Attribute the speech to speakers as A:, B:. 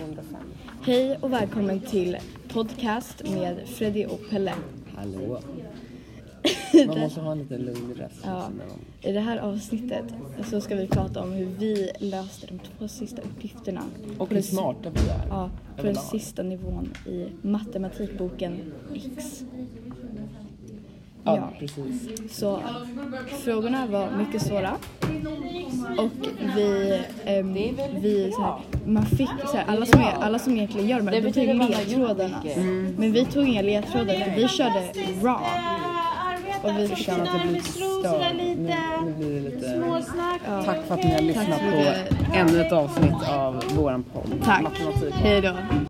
A: 105.
B: Hej och välkommen till podcast med Freddy och Pelle.
A: Hallå! Man måste ha en liten lugn röst.
B: Ja,
A: liksom, när man-
B: I det här avsnittet så ska vi prata om hur vi löste de två sista uppgifterna.
A: Och
B: På
A: hur
B: den-
A: smarta vi är.
B: Ja, på den
A: överlag.
B: sista nivån i matematikboken X.
A: Ja, precis.
B: Så frågorna var mycket svåra. Och vi... ehm, vi så här, man fick så här, alla, som är, alla som egentligen gör de här, de tog ledtrådarna. Men vi tog inga ledtrådar för vi körde raw. Och vi
A: känner att det blir stört. Nu- nu blir det lite-
C: Småsnack.
A: Tack för att ni har lyssnat
B: Tack så
A: på
B: mycket.
A: ännu ett avsnitt av våran podd.
B: Tack.
A: Matematik.
B: Hej då.